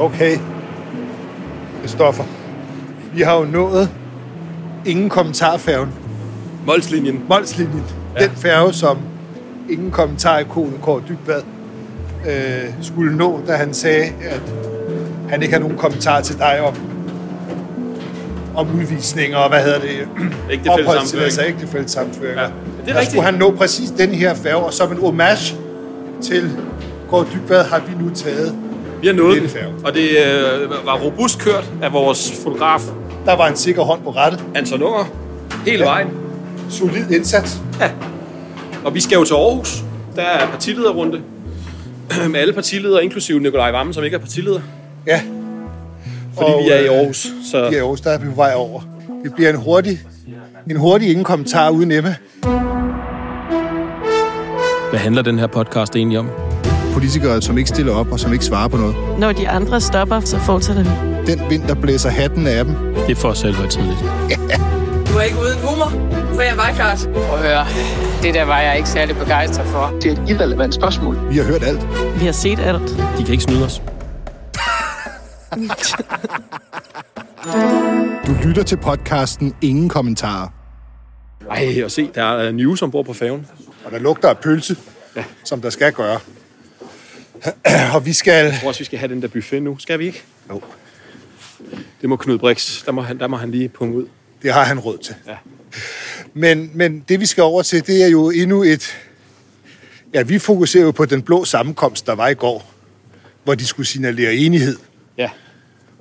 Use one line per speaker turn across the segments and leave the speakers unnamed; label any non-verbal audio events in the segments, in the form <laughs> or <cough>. Okay, Stoffer. Vi har jo nået ingen kommentarfærgen.
Molslinjen.
Molslinjen. Ja. Den færge, som ingen kommentar i konen Kåre Dybvad øh, skulle nå, da han sagde, at han ikke har nogen kommentar til dig om, om udvisninger og hvad hedder det? Opholdstilladelse og ægtefælde sammenføringer.
Ja,
Ja,
det er
der
rigtigt.
skulle han nå præcis den her færge, og som en homage til Kåre Dybvad har vi nu taget.
Vi har nået
Lille
den,
færge.
og det øh, var robust kørt af vores fotograf
Der var en sikker hånd på rettet.
Anton Unger hele
Ja.
vejen.
Solid indsats.
Og vi skal jo til Aarhus. Der er partilederrunde med alle partiledere, inklusive Nikolaj Vammen, som ikke er partileder,
Ja,
fordi
Og,
vi er i
øh,
Aarhus.
vi er i
Så
Aarhus, der er vi på vej over. Det bliver en hurtig, en hurtig ingen kommentar uden Emma.
hvad handler den her podcast egentlig om?
Politikere, som ikke stiller op og som ikke svarer på noget.
Når de andre stopper, så fortsætter vi.
Den vind, der blæser hatten af dem.
Det er for selvhøjtidligt.
Du er ikke uden humor, for jeg var klart.
Prøv at høre, det der var jeg ikke særlig begejstret for.
Det er et irrelevant spørgsmål.
Vi har hørt alt.
Vi har set alt.
De kan ikke snyde os.
Du lytter til podcasten Ingen Kommentarer.
Ej, og se, der er øh, News ombord på færgen.
Og der lugter af pølse, ja. som der skal gøre. <clears throat> og vi skal...
Jeg tror også, vi skal have den der buffet nu. Skal vi ikke?
Jo,
Det må Knud Brix. Der må han, der må han lige punge ud.
det har han råd til.
Ja.
Men, men det, vi skal over til, det er jo endnu et... Ja, vi fokuserer jo på den blå sammenkomst, der var i går, hvor de skulle signalere enighed
Ja.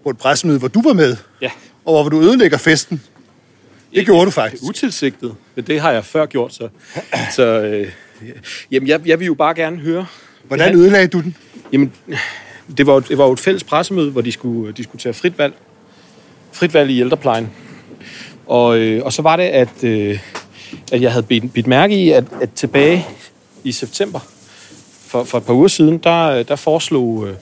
på et pressemøde, hvor du var med,
Ja.
og hvor du ødelægger festen. Det gjorde du faktisk.
Utilsigtet. Men det har jeg før gjort, så... så øh, jamen, jeg, jeg vil jo bare gerne høre...
Hvordan ødelagde du den?
Jamen, det var, jo- det var jo et fælles pressemøde, hvor de skulle øh, diskutere frit valg. Frit valg i ældreplejen. Og, øh, og så var det, at, øh, at jeg havde bidt, bidt mærke i, at, at tilbage i september, for, for et par uger siden, der, øh, der foreslog, øh,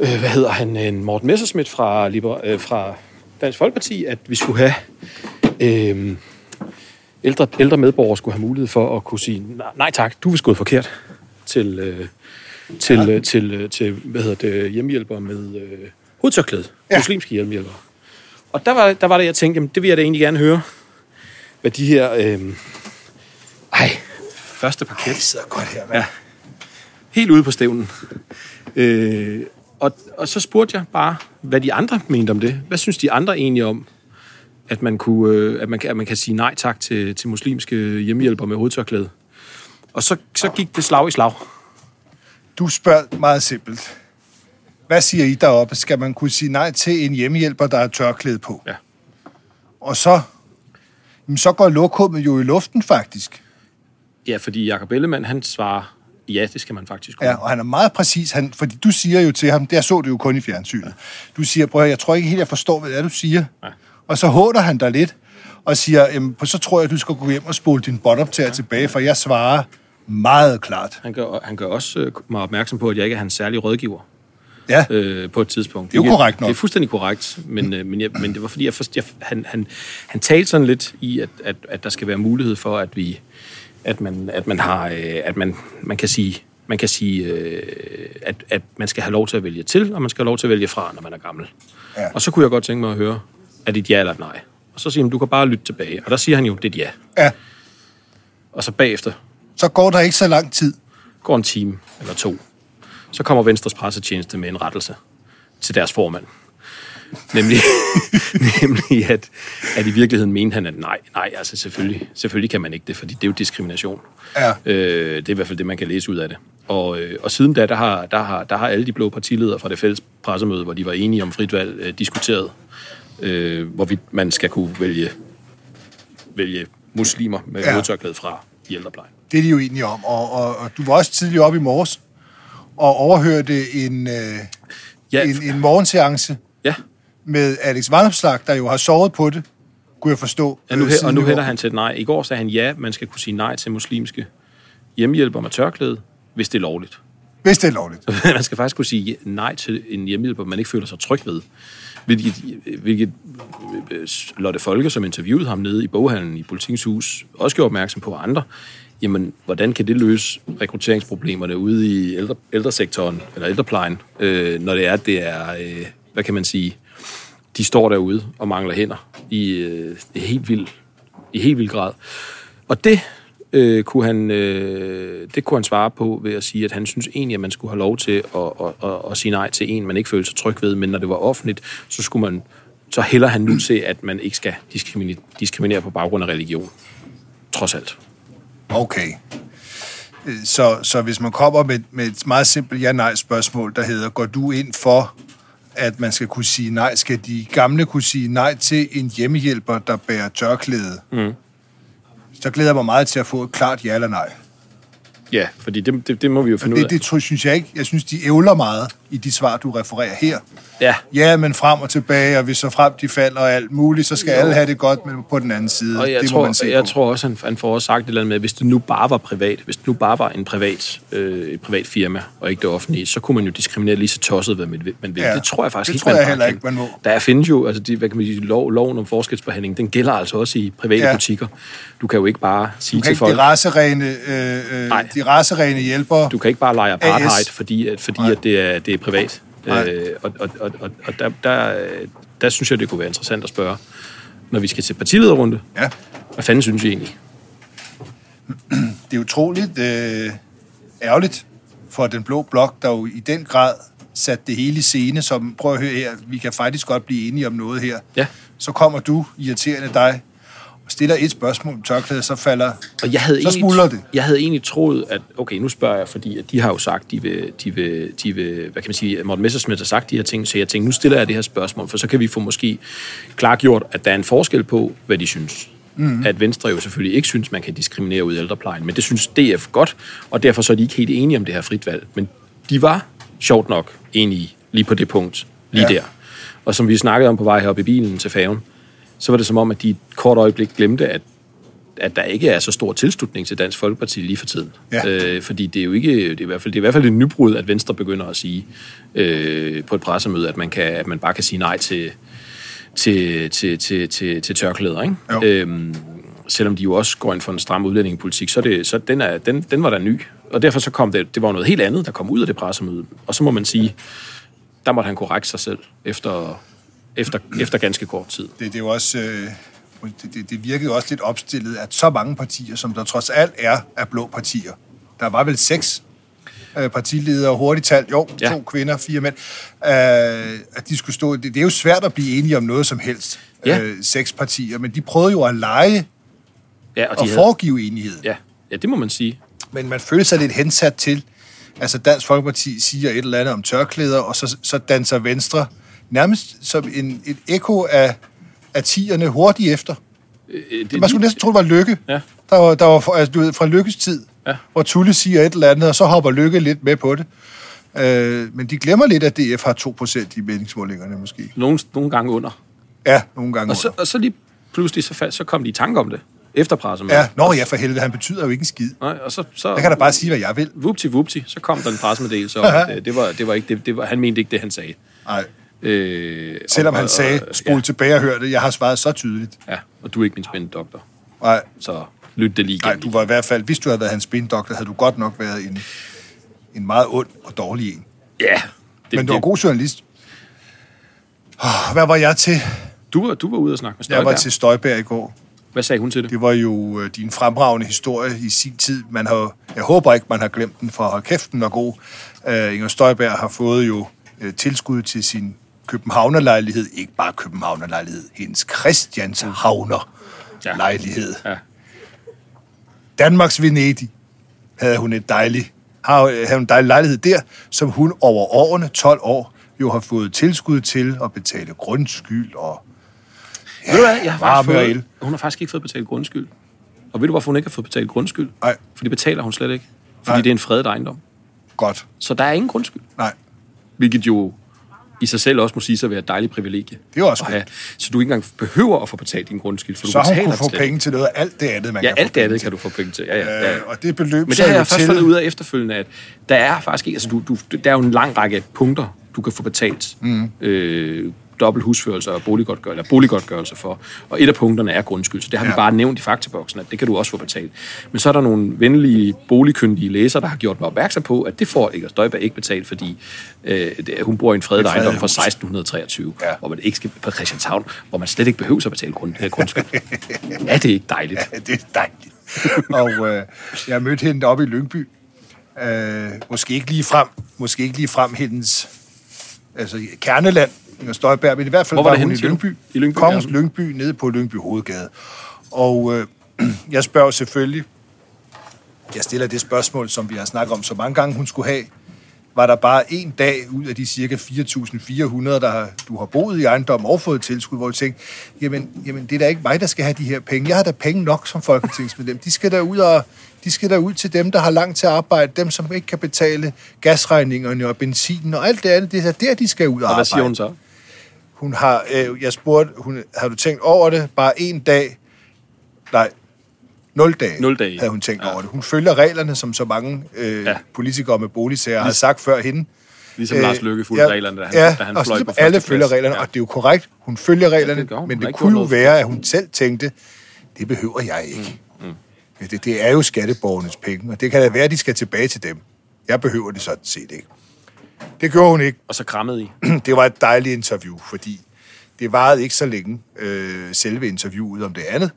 øh, hvad hedder han, øh, Morten Messerschmidt fra, Liber, øh, fra Dansk Folkeparti, at vi skulle have... Øh, ældre, ældre medborgere skulle have mulighed for at kunne sige, nej, nej tak, du er skået forkert til, øh, til, øh, til, øh, til hvad hedder det, hjemmehjælpere med øh, hovedtørklæde. Ja.
Ja.
Muslimske hjemmehjælpere. Og der var, der var det, jeg tænkte, jamen, det vil jeg da egentlig gerne høre, hvad de her... Øh, ej, første parket. Ej, sidder godt her, ja. Helt ude på stævnen. Øh, og, og så spurgte jeg bare, hvad de andre mente om det. Hvad synes de andre egentlig om, at man, kunne, øh, at man, kan- at man kan sige nej tak til, til muslimske hjemmehjælpere med hovedtørklæde. Og så, så gik det slag i slag.
Du spørger meget simpelt. Hvad siger I deroppe? Skal man kunne sige nej til en hjemmehjælper, der har tørklæde på?
Ja.
Og så, jamen så går lokummet jo i luften faktisk.
Ja, fordi Jacob Ellemann, han svarer, ja, det skal man faktisk kunne.
Ja, og han er meget præcis, han, fordi du siger jo til ham, der så du jo kun i fjernsynet. Du siger, prøv at høre, jeg tror ikke helt, jeg forstår, hvad det er, du siger. Ja. Og så håner han dig lidt, og siger, jamen, så tror jeg, du skal gå hjem og spole din båndoptager tilbage, for jeg svarer meget klart.
Han, gør, han gør også øh, mig opmærksom på, at jeg ikke er hans særlige rådgiver
Ja,
øh, på et tidspunkt.
Det er jo
Hvilket-
korrekt nok.
Det er fuldstændig korrekt, men, øh, men, jeg, men det var fordi, jeg forst, jeg, han, han, han talte sådan lidt i, at, at, at der skal være mulighed for, at vi at man, at man har, øh, at man, man kan sige, man kan sige, øh, at, at man skal have lov til at vælge til, og man skal have lov til at vælge fra, når man er gammel. Ja.
Ja.
Og så kunne jeg godt tænke mig at høre, er det et ja eller et nej? Og så siger han, du kan bare lytte tilbage. Og der siger han jo, det er et ja.
ja.
Og så bagefter
Så går der ikke så lang tid.
går en time eller to, så kommer Venstres pressetjeneste med en rettelse til deres formand. Nemlig, <laughs> nemlig at, at i virkeligheden mente han, at nej, nej, altså selvfølgelig, selvfølgelig kan man ikke det, fordi det er jo diskrimination.
Ja.
Øh, det er i hvert fald det, man kan læse ud af det. Og, øh, og siden da, der har, der, har, der har alle de blå partiledere fra det fælles pressemøde, hvor de var enige om frit valg, øh, diskuteret, øh, hvorvidt man skal kunne vælge, vælge muslimer med ja.
Ja.
hovedtørklæde fra i ældreplejen.
Det er de jo enige om, og, og, og du var også tidligt op i morges og overhørte en, øh,
Ja,
en, en morgenseance
ja.
med Alex Vandopslag, der jo har sovet på det, kunne jeg forstå.
Ja, nu,
øh,
he- og
siden i
nu
går.
hælder han til et nej. I går sagde han ja, man skal kunne sige nej til muslimske hjemmehjælpere med tørklæde, hvis det er lovligt. <laughs>
Hvis det er lovligt.
man skal faktisk kunne sige ja- nej til en hjemmehjælper, man ikke føler sig tryg ved. Hvilket, hvilket øh, Lotte Folke, som interviewede ham nede i boghandlen i Politikens Hus, også gjorde opmærksom på og andre.
jamen, hvordan kan det løse rekrutteringsproblemerne ude i ældre, ældresektoren, eller ældreplejen, øh, når det er, at det er, øh, hvad kan man sige, de står derude og mangler hænder i, øh, i helt vild, i helt vild grad. Og det øh, kunne han, øh, det kunne han svare på ved at sige, at han synes egentlig, at man skulle have lov til at, at, at, at sige nej til en, man ikke følte sig tryg ved, men når det var offentligt, så skulle man så hælder han nu til, at man ikke skal diskriminere, diskriminere på baggrund af religion. Trods alt.
Okay. Øh, Så, så hvis man kommer med, med et meget simpelt ja-nej-spørgsmål, der hedder, går du ind for, at man skal kunne sige nej? Skal de gamle kunne sige nej til en hjemmehjælper, der bærer tørklæde? Mm. Så glæder jeg mig meget til at få et klart ja eller nej.
Ja, fordi det, det, det må vi jo finde ud af.
Det, det tror, synes jeg ikke. Jeg synes, de ævler meget i de svar, du refererer her.
Ja,
Ja, men frem og tilbage, og hvis så frem de falder og alt muligt, så skal jo. alle have det godt, men på den anden side,
og jeg
det
tror,
må man se
jeg
på.
tror også, han, han får også sagt et eller andet med, at hvis det nu bare var privat, hvis det nu bare var en privat, øh, et privat firma, og ikke det offentlige, så kunne man jo diskriminere lige så tosset, hvad man vil. man vil.
Ja,
det tror jeg faktisk
det
ikke,
tror
man
jeg
bare
heller
kan.
ikke, man må.
Der findes jo, altså de, hvad kan man sige, lov, loven om forskelsbehandling, den gælder altså også i private
Ja.
ja. butikker. Du kan jo ikke bare sige
Du kan
til
ikke
folk,
de raserene, øh,
Nej.
øh, de raserene hjælpere.
du kan ikke bare lege apartheid,
AS.
fordi, at, fordi
Nej.
at det, er, det er privat.
Nej.
Øh, og og, og, og, og der, der, der synes jeg, det kunne være interessant at spørge, når vi skal til partilederrunde,
Ja,
hvad fanden synes I egentlig?
det er utroligt øh, ærgerligt for den blå blok, der jo i den grad satte det hele i scene, som, prøv at høre her, vi kan faktisk godt blive enige om noget her.
Ja.
Så kommer du, irriterende dig, og stiller et spørgsmål om tørklædet, så falder...
Og jeg havde
Så
egentlig,
smuldrer det.
Jeg havde egentlig troet, at okay, nu spørger jeg, fordi at de har jo sagt, de vil, de vil, de vil hvad kan man sige, at Morten Messerschmidt har sagt de her ting, så jeg tænkte, nu stiller jeg det her spørgsmål, for så kan vi få måske klargjort, at der er en forskel på, hvad de synes.
Mhm.
Mm. At Venstre jo selvfølgelig ikke synes, man kan diskriminere ud i ældreplejen, men det synes DF godt, og derfor så er de ikke helt enige om det her fritvalg. Men de var, sjovt nok, enige lige på det punkt, lige
Ja.
ja. der. Og som vi snakkede om på vej heroppe i bilen til færgen, så var det som om, at de et kort øjeblik glemte, at at der ikke er så stor tilslutning til Dansk Folkeparti lige for tiden.
Ja.
Øh, fordi det er jo ikke, det er i hvert fald, det er i hvert fald et nybrud, at Venstre begynder at sige øh, på et pressemøde, at man, kan, at man bare kan sige nej til, til, til, til, til, til tørklæder.
Jo.
Ikke? Øhm, selvom de jo også går ind for en stram udlændingepolitik, så, er det, så den, er, den, den var der ny. Og derfor så kom det, det var jo noget helt andet, der kom ud af det pressemøde. Og så må man sige, der måtte han korrekte sig selv efter, efter, efter ganske kort tid.
Det, det er jo også... Øh, det, det, det virkede jo også lidt opstillet, at så mange partier, som der trods alt er, er blå partier. Der var vel seks øh, partiledere, hurtigt talt, jo, ja.
Ja.
to kvinder, fire mænd, øh, at de skulle stå... Det, det er jo svært at blive enige om noget som helst,
Ja.
øh, seks partier, men de prøvede jo at lege
Ja, og de
og
havde,
foregive enighed.
ja, ja, det må man sige. Øh,
Men man følte sig lidt hensat til, altså Dansk Folkeparti siger et eller andet om tørklæder, og så, så danser Venstre nærmest som en, et ekko af, af tierne hurtigt efter.
Øh,
Man skulle næsten tro, det var Lykke.
Ja.
Der var, der var fra, altså, du ved, fra Lykkes tid,
Ja.
hvor Tulle siger et eller andet, og så hopper Lykke lidt med på det. Øh, men de glemmer lidt, at DF har 2% i meningsmålingerne måske.
nogle, nogle gange under.
Ja, nogle gange.
Og så,
under.
og så lige pludselig, så, fa- så kom de i tanke om det. Efter pressemødet.
Ja, nå ja, for helvede, han betyder jo ikke en skid.
Nej, og så, så
Jeg kan da bare sige, hvad jeg vil.
vupti, vupti, så kom der en pressemeddelelse om, at øh, det var, det var ikke, det, det var, han mente ikke det, han sagde.
Nej.
Øh,
Selvom
og-
han
og-
sagde,
og-
spol tilbage og hør det, jeg har svaret så tydeligt.
Ja, ja, og du er ikke min spændende doktor.
Nej,
Så lyt det lige
nej,
igennem.
du var i hvert fald, hvis du havde været hans bindoktor, havde du godt nok været en, en meget ond og dårlig en.
Ja. Det,
Men du var
det,
god journalist. Oh, hvad var jeg til?
du, var, du var ude og snakke med
Jeg
Støjberg.
var til Støjberg i går.
Hvad sagde hun til det?
Det var jo øh, din fremragende historie i sin tid. Man har, jeg håber ikke, man har glemt den, for hold kæft, den var god. Øh, Inger Støjberg har fået jo øh, tilskud til sin københavnerlejlighed. Ikke bare københavnerlejlighed, hendes Christianshavner-lejlighed.
Mm. Ja.
Danmarks Venedig havde hun et dejligt, har, øh, havde hun en dejlig lejlighed der, som hun over årene, 12 år, jo har fået tilskud til at betale grundskyld og
Ja, ved du hvad, jeg har
varme
faktisk
og
fået,
el.
hun har faktisk ikke fået betalt grundskyld. Og ved du, hvorfor hun ikke har fået betalt grundskyld?
Nej.
For det betaler hun slet ikke. Fordi
Nej.
Nej. det er en fredet ejendom.
godt.
Så der er ingen grundskyld.
Nej,
Hvilket jo i sig selv også må sige sig at være et dejligt privilegie.
Det er jo også
at
godt.
have. Så du ikke engang behøver at få betalt din grundskyld, for
så
du
har hun
betaler
kunne
den
få
slet
penge
ikke.
til noget af alt det andet, man
Ja,
kan få
alt det
penge
andet
til.
kan du få penge til. Ja, ja, ja.
Øh, og det beløb
Men det
sig
har
jo
jeg først
til-
fundet ud af efterfølgende, at der er faktisk ikke, altså du, du, der er jo en lang række punkter, du kan få betalt mm. øh, dobbelt husførelse og boliggodtgørelse, eller boliggodtgørelse for. Og et af punkterne er grundskyld, så det har ja. vi bare nævnt i faktaboksen, at det kan du også få betalt. Men så er der nogle venlige boligkyndige læsere, der har gjort mig opmærksom på, at det får Inger Støjberg ikke betalt, fordi øh, det, hun bor i en fredet ejendom fra 1623, ja. hvor man ikke skal på Christianshavn, hvor man slet ikke behøver at betale grund, øh, <laughs> grundskyld. er det ikke dejligt?
Ja, det er dejligt. og øh, jeg mødte hende oppe i Lyngby. Øh, måske ikke lige frem, måske ikke lige frem hendes altså, kerneland, Inger Støjberg, men i hvert fald
Hvor var
var,
det
hun
henne,
i
siger du?
Lyngby.
I Lyngby,
Kongens
ja.
Lyngby, nede på Lyngby Hovedgade. Og øh, <clears throat> jeg spørger selvfølgelig, jeg stiller det spørgsmål, som vi har snakket om så mange gange, hun skulle have. Var der bare en dag ud af de cirka 4.400, der har, du har boet i ejendommen og fået tilskud, hvor du tænkte, jamen, jamen det er da ikke mig, der skal have de her penge. Jeg har da penge nok som folketingsmedlem. De skal da ud, og, de skal da ud til dem, der har langt til arbejde, dem, som ikke kan betale gasregningerne og benzinen og alt det andet. Det er da der, de skal ud og
Og hvad
arbejde.
siger hun så?
Hun har, øh, jeg spurgte, hun, har du tænkt over det? Bare en dag? Nej, nul dage,
Nul dage.
havde hun tænkt
Ja.
ja. over det. Hun følger reglerne, som så mange øh,
Ja.
ja. politikere med boligsager har sagt før hende.
Ligesom Lars Løkke fulgte reglerne, da han-
Øh, ja,
da han
og
fløj
ligesom
på første
alle
klasse.
følger reglerne,
Ja.
ja. og det er jo korrekt, hun følger reglerne, ja,
gør hun. Hun
men
har
det
ikke
kunne jo
gjort noget
være, at hun selv tænkte, det behøver jeg ikke. Mm. Mm. Det, det er jo skatteborgernes penge, og det kan da være, at de skal tilbage til dem. Jeg behøver det sådan set ikke. Det gjorde hun ikke
Og så krammede I.
det var et dejligt interview, fordi det varede ikke så længe, øh, selve interviewet om det andet.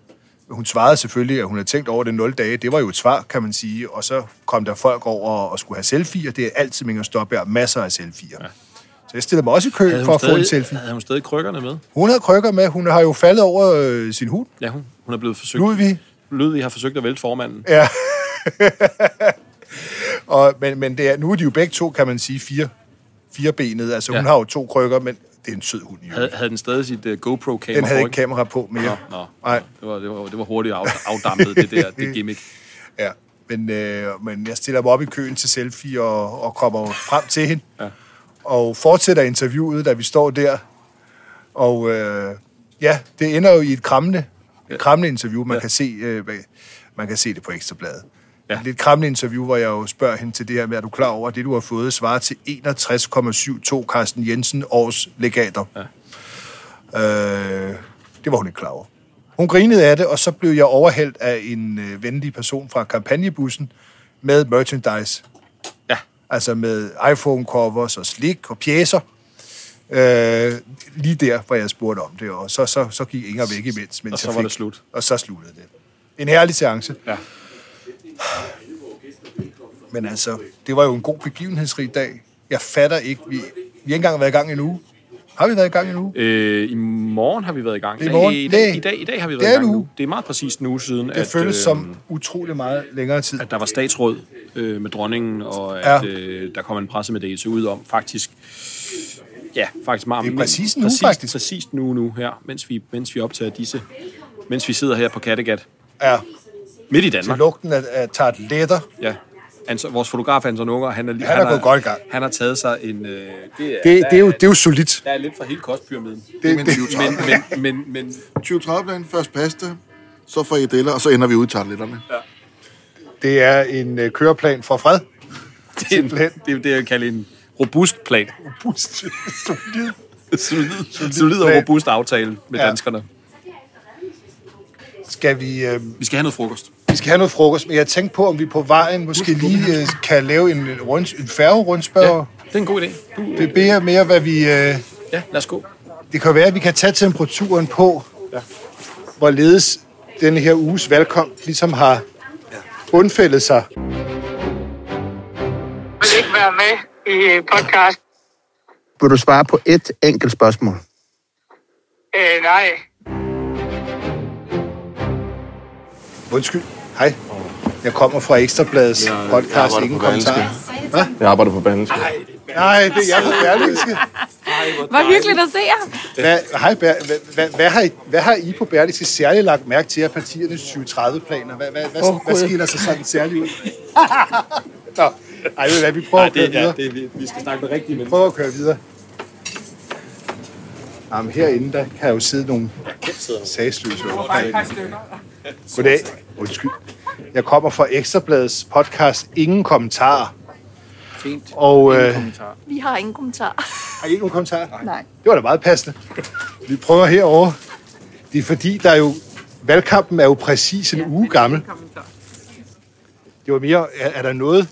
Hun svarede selvfølgelig, at hun havde tænkt over det 0 dage. Det var jo et svar, kan man sige. Og så kom der folk over og skulle have selfies. Det er altid Inger Støjberg, masser af selfies. Ja. Så jeg stillede mig også i kø
Havde
for
hun,
at få en
stadig,
selfie.
havde hun stadig krykkerne med?
Hun havde krykker med. Hun har jo faldet over øh, sin hud.
Ja, hun, hun er blevet forsøgt.
Ludvig.
Ludvig har forsøgt at vælte formanden.
Ja. og, men men det er, nu er de jo begge to, kan man sige, fire, fire benede. Altså ja.
Ja.
hun har jo to krykker, men det er en sød hund. Jo.
Havde, havde den stadig sit uh, GoPro-kamera?
Den havde
på
ikke kamera på mere.
ryggen? Nå,
Nej.
Nej. Det var, det, var, det var hurtigt af, afdampet, det der
<laughs>
det gimmick.
Ja, men, øh, men jeg stiller mig op i køen til selfie og, og kommer frem til hende. Ja. Og fortsætter interviewet, da vi står der. Og øh, ja, det ender jo i et krammende, et krammende interview. Man, ja. kan se, øh, hvad- man kan se det på Ekstrabladet. Ja.
Ja.
Det er et krammende interview, hvor jeg jo spørger hende til det her med, er du klar over, at det du har fået svarer til 61,72 Carsten Jensen års legater. Ja. Øh, det var hun ikke klar over. Hun grinede af det, og så blev jeg overhældt af en øh, venlig person fra kampagnebussen med merchandise.
Ja.
Altså med iPhone-covers og slik og pjæser. Øh, lige der, hvor jeg spurgte om det, og så, så, så gik Inger væk imens. Mens
Og så
jeg
var
fik,
det slut.
Og så sluttede det. En herlig seance.
Ja.
Men altså, det var jo en god begivenhedsrig dag. Jeg fatter ikke, vi, vi har ikke engang været i gang endnu. Har vi været i gang endnu?
Øh, I morgen har vi været i gang.
I morgen?
Nej, i, dag,
Næ.
i, dag, I dag har vi
Det
været i
er
gang
nu.
nu. Det er meget præcist nu siden,
Det
at,
føles
øh,
som utrolig meget længere tid.
at der var statsråd øh, med dronningen, og at
Ja.
øh, der kom en pressemeddelelse ud om faktisk... Ja, faktisk meget
Det er
men-
præcis nu,
præcis,
faktisk.
Præcis nu, nu her, mens vi, mens vi optager disse... Mens vi sidder her på Kattegat.
Ja,
Midt i
til
Danmark.
lugten af, af tartletter.
Ja. Anton, vores fotograf Anton Unger, han er, lige-
Han er gået godt i gang.
Han har taget sig en... Øh, det, er,
Det,
der,
det, er jo, det er jo solidt.
Der er lidt fra hele kostpyramiden.
Det er min 2030.
Men, men, men, men
2030 plan, først pasta, så frikadeller, og så ender vi ud i tarteletterne.
Det er en øh, køreplan for fred. <laughs>
det, er en, det er jo det, jeg kalder en robust plan.
Robust. Solid.
Solid, solid og
plan.
robust aftale med
Ja.
ja. danskerne.
Skal vi, øh,
Vi skal have noget frokost.
vi skal have noget frokost, men jeg tænkte på, om vi på vejen måske lige øh, kan lave en, rundt, en færgerundspørg. Ja.
Det er en god idé. Du,
Det beder mere, hvad vi... Øh,
ja, lad os gå.
det kan være, at vi kan tage temperaturen på, ja. hvorledes denne her uges valgkamp ligesom har undfældet sig.
vil ikke være med i podcast.
Vil du svare på et enkelt spørgsmål?
Øh, nej.
Undskyld. Hej. Jeg kommer fra Ekstrabladets podcast. Ingen kommentar.
Jeg arbejder på Berlingske.
Nej, det er jeg fra Berlingske.
Hvor hyggeligt at se jer.
Hvad, hej, Ber, hvad, hvad, hvad, har I, hvad har I på Berlingske særligt lagt mærke til af partiernes 2030-planer? Hvad, hvad, hvad, oh, hvad skiller sig sådan særligt ud? <laughs> Nå, ej, ved du hvad, vi prøver at køre videre.
det, vi, vi skal snakke med rigtige
Vi
mennesker.
prøver at køre videre. Jamen, herinde, der kan jo sidde nogle sagsløse overgreb. Goddag. Undskyld. Jeg kommer fra Ekstrabladets podcast Ingen Kommentarer. Fint. Og øh,
Vi har ingen kommentar.
Har I ikke nogen kommentarer?
Nej.
Det var da meget passende. Vi prøver herover. Det er fordi, der er jo... Valgkampen er jo præcis en uge gammel. Det var mere, er, er der noget...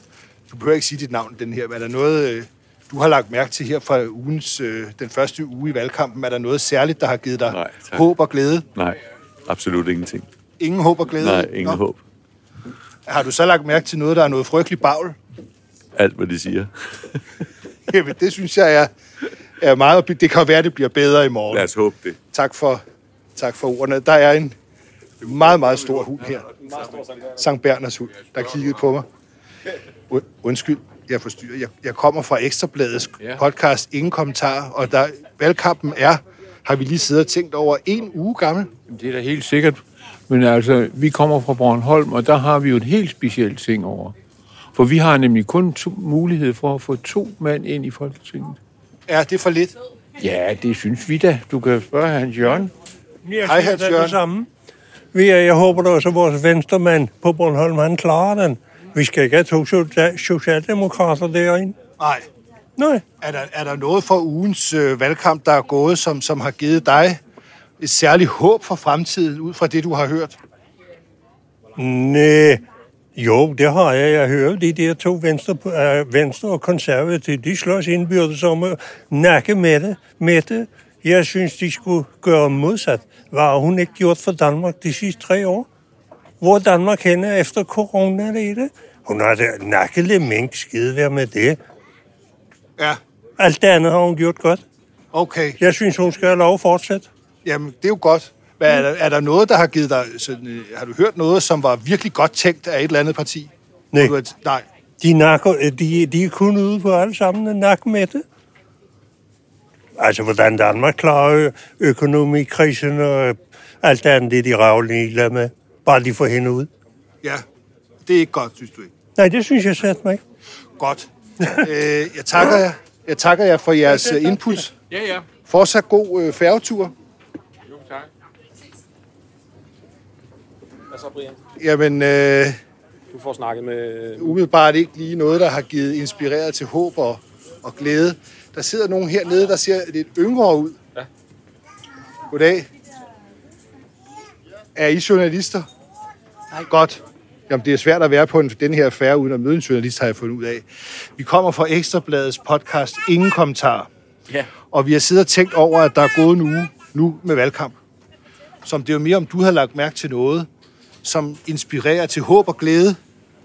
Du behøver ikke sige dit navn, den her, men er der noget, øh, du har lagt mærke til her fra ugens, øh, den første uge i valgkampen? Er der noget særligt, der har givet dig
Nej, tak.
håb og glæde?
Nej, absolut ingenting.
Ingen håb og glæde?
Nej, ingen
Nå.
håb.
Har du så lagt mærke til noget, der er noget frygteligt bagl? <laughs>
Alt, hvad de siger.
Jamen, det synes jeg er, er meget... opby- Det kan være, det bliver bedre i morgen.
Lad os håbe det.
Tak for, tak for ordene. Der er en meget, meget stor hund her. Sankt Berners hund, der kiggede på mig. Und- Undskyld, jeg forstyrrer. Jeg, jeg kommer fra Ekstrabladets podcast Ingen Kommentarer, og der, valgkampen er, har vi lige siddet og tænkt over, en uge gammel.
Det er da helt sikkert. Men altså, vi kommer fra Bornholm, og der har vi jo en helt speciel ting over. For vi har nemlig kun to mulighed for at få to mand ind i Folketinget.
Er det for lidt?
Ja, det synes vi da. Du kan spørge Hans Jørgen.
Hej, Hans Jørgen. Det samme. Vi er, jeg håber da også, at vores venstremand på Bornholm, han klarer den. Vi skal ikke have to socia- socialdemokrater derinde.
Nej.
Nej.
Er der, er der noget for ugens øh, valgkamp, der er gået, som, som har givet dig et særligt håb for fremtiden, ud fra det, du har hørt?
Næh. Jo, det har jeg. Jeg hører de der to venstre, øh, venstre og konservative, de slås indbyrdes om at nakke med det. Med det. Jeg synes, de skulle gøre modsat. Hvad har hun ikke gjort for Danmark de sidste tre år? Hvor er Danmark henne efter corona, det det? Hun har da nakket lidt mink, skide være med det.
Ja.
Alt det andet har hun gjort godt.
Okay.
Jeg synes, hun skal have lov at fortsætte.
Jamen, det er jo godt. Hvad, er, der, er der noget, der har givet dig... Sådan, øh, har du hørt noget, som var virkelig godt tænkt af et eller andet parti?
Nej.
Du er, t- nej.
De, nakker, øh, de, de er kun ude på alle sammen at nakke med det. Altså, hvordan Danmark klarer ø- økonomikrisen øh, og øh, alt det andet, det er de ravlige ligeglade med. Bare de får hende ud.
Ja, det er ikke godt, synes du ikke?
Nej, det synes jeg slet ikke.
Godt. øh, jeg, takker jer. jeg takker jer for jeres øh, input.
Ja, ja.
Fortsat god øh, færgetur.
Jo, tak.
Hvad så, Brian?
Jamen, øh,
Du får snakket med...
umiddelbart ikke lige noget, der har givet inspireret til håb og, og glæde. Der sidder nogen hernede, der ser lidt yngre ud.
Ja.
Goddag. Er I journalister? Nej. Godt. Jamen, det er svært at være på en, den her affære, uden at møde en journalist, har jeg fundet ud af. Vi kommer fra Ekstrabladets podcast Ingen Kommentar.
Ja.
Og vi har siddet og tænkt over, at der er gået en uge nu med valgkamp. Som det er jo mere, om du har lagt mærke til noget, som inspirerer til håb og glæde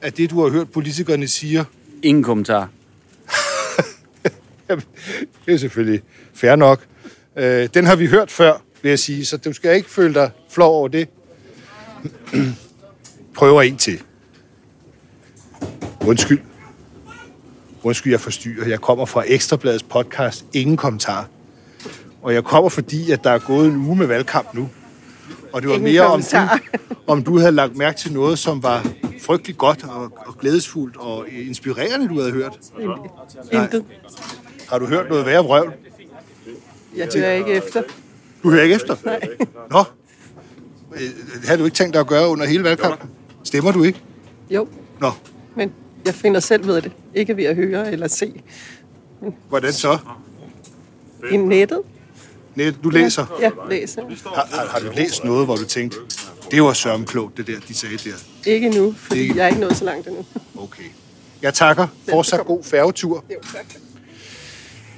af det, du har hørt politikerne siger.
Ingen kommentar.
Jamen, det er selvfølgelig fair nok. Øh, den har vi hørt før, vil jeg sige, så du skal ikke føle dig flov over det. <clears throat> Prøver en til. Undskyld. Undskyld, jeg forstyrrer. Jeg kommer fra Ekstrabladets podcast Ingen Kommentar. Og jeg kommer, fordi at der er gået en uge med valgkamp nu. Og det var
Ingen
mere om du,
kommentar. <laughs>
om du havde lagt mærke til noget, som var frygtelig godt og, og glædesfuldt og inspirerende, du havde hørt. Intet. Har du hørt noget værre vrøvl?
Jeg hører ikke efter.
Du hører ikke efter? Nej. Nå. Øh, Det havde du ikke tænkt dig at gøre under hele valgkampen? Stemmer du ikke?
Jo,
Nå.
men jeg finder selv ved det. Ikke ved at høre eller se.
Hvordan så?
I nettet.
Net, du læser?
Ja, læser.
Har, har, har du læst noget, hvor du tænkte, det var sørme klogt, det der, de sagde der?
Ikke nu, fordi
Ikke.
jeg er ikke nået så langt endnu.
Okay. Jeg takker. Fortsat god færgetur.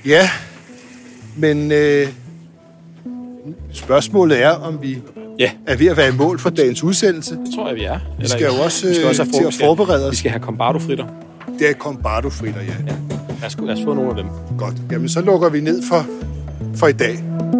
Ja, men øh, spørgsmålet er, om vi
Ja.
er ved at være i mål for dagens udsendelse. Det
tror jeg, vi er.
Vi skal jo også, øh,
vi skal også have
til at forberede
os. Vi skal have kombardo fritter.
Det er kombardo fritter, ja.
ja. Lad, os, lad os få nogle af dem.
Godt. Jamen, så lukker vi ned for, for i dag.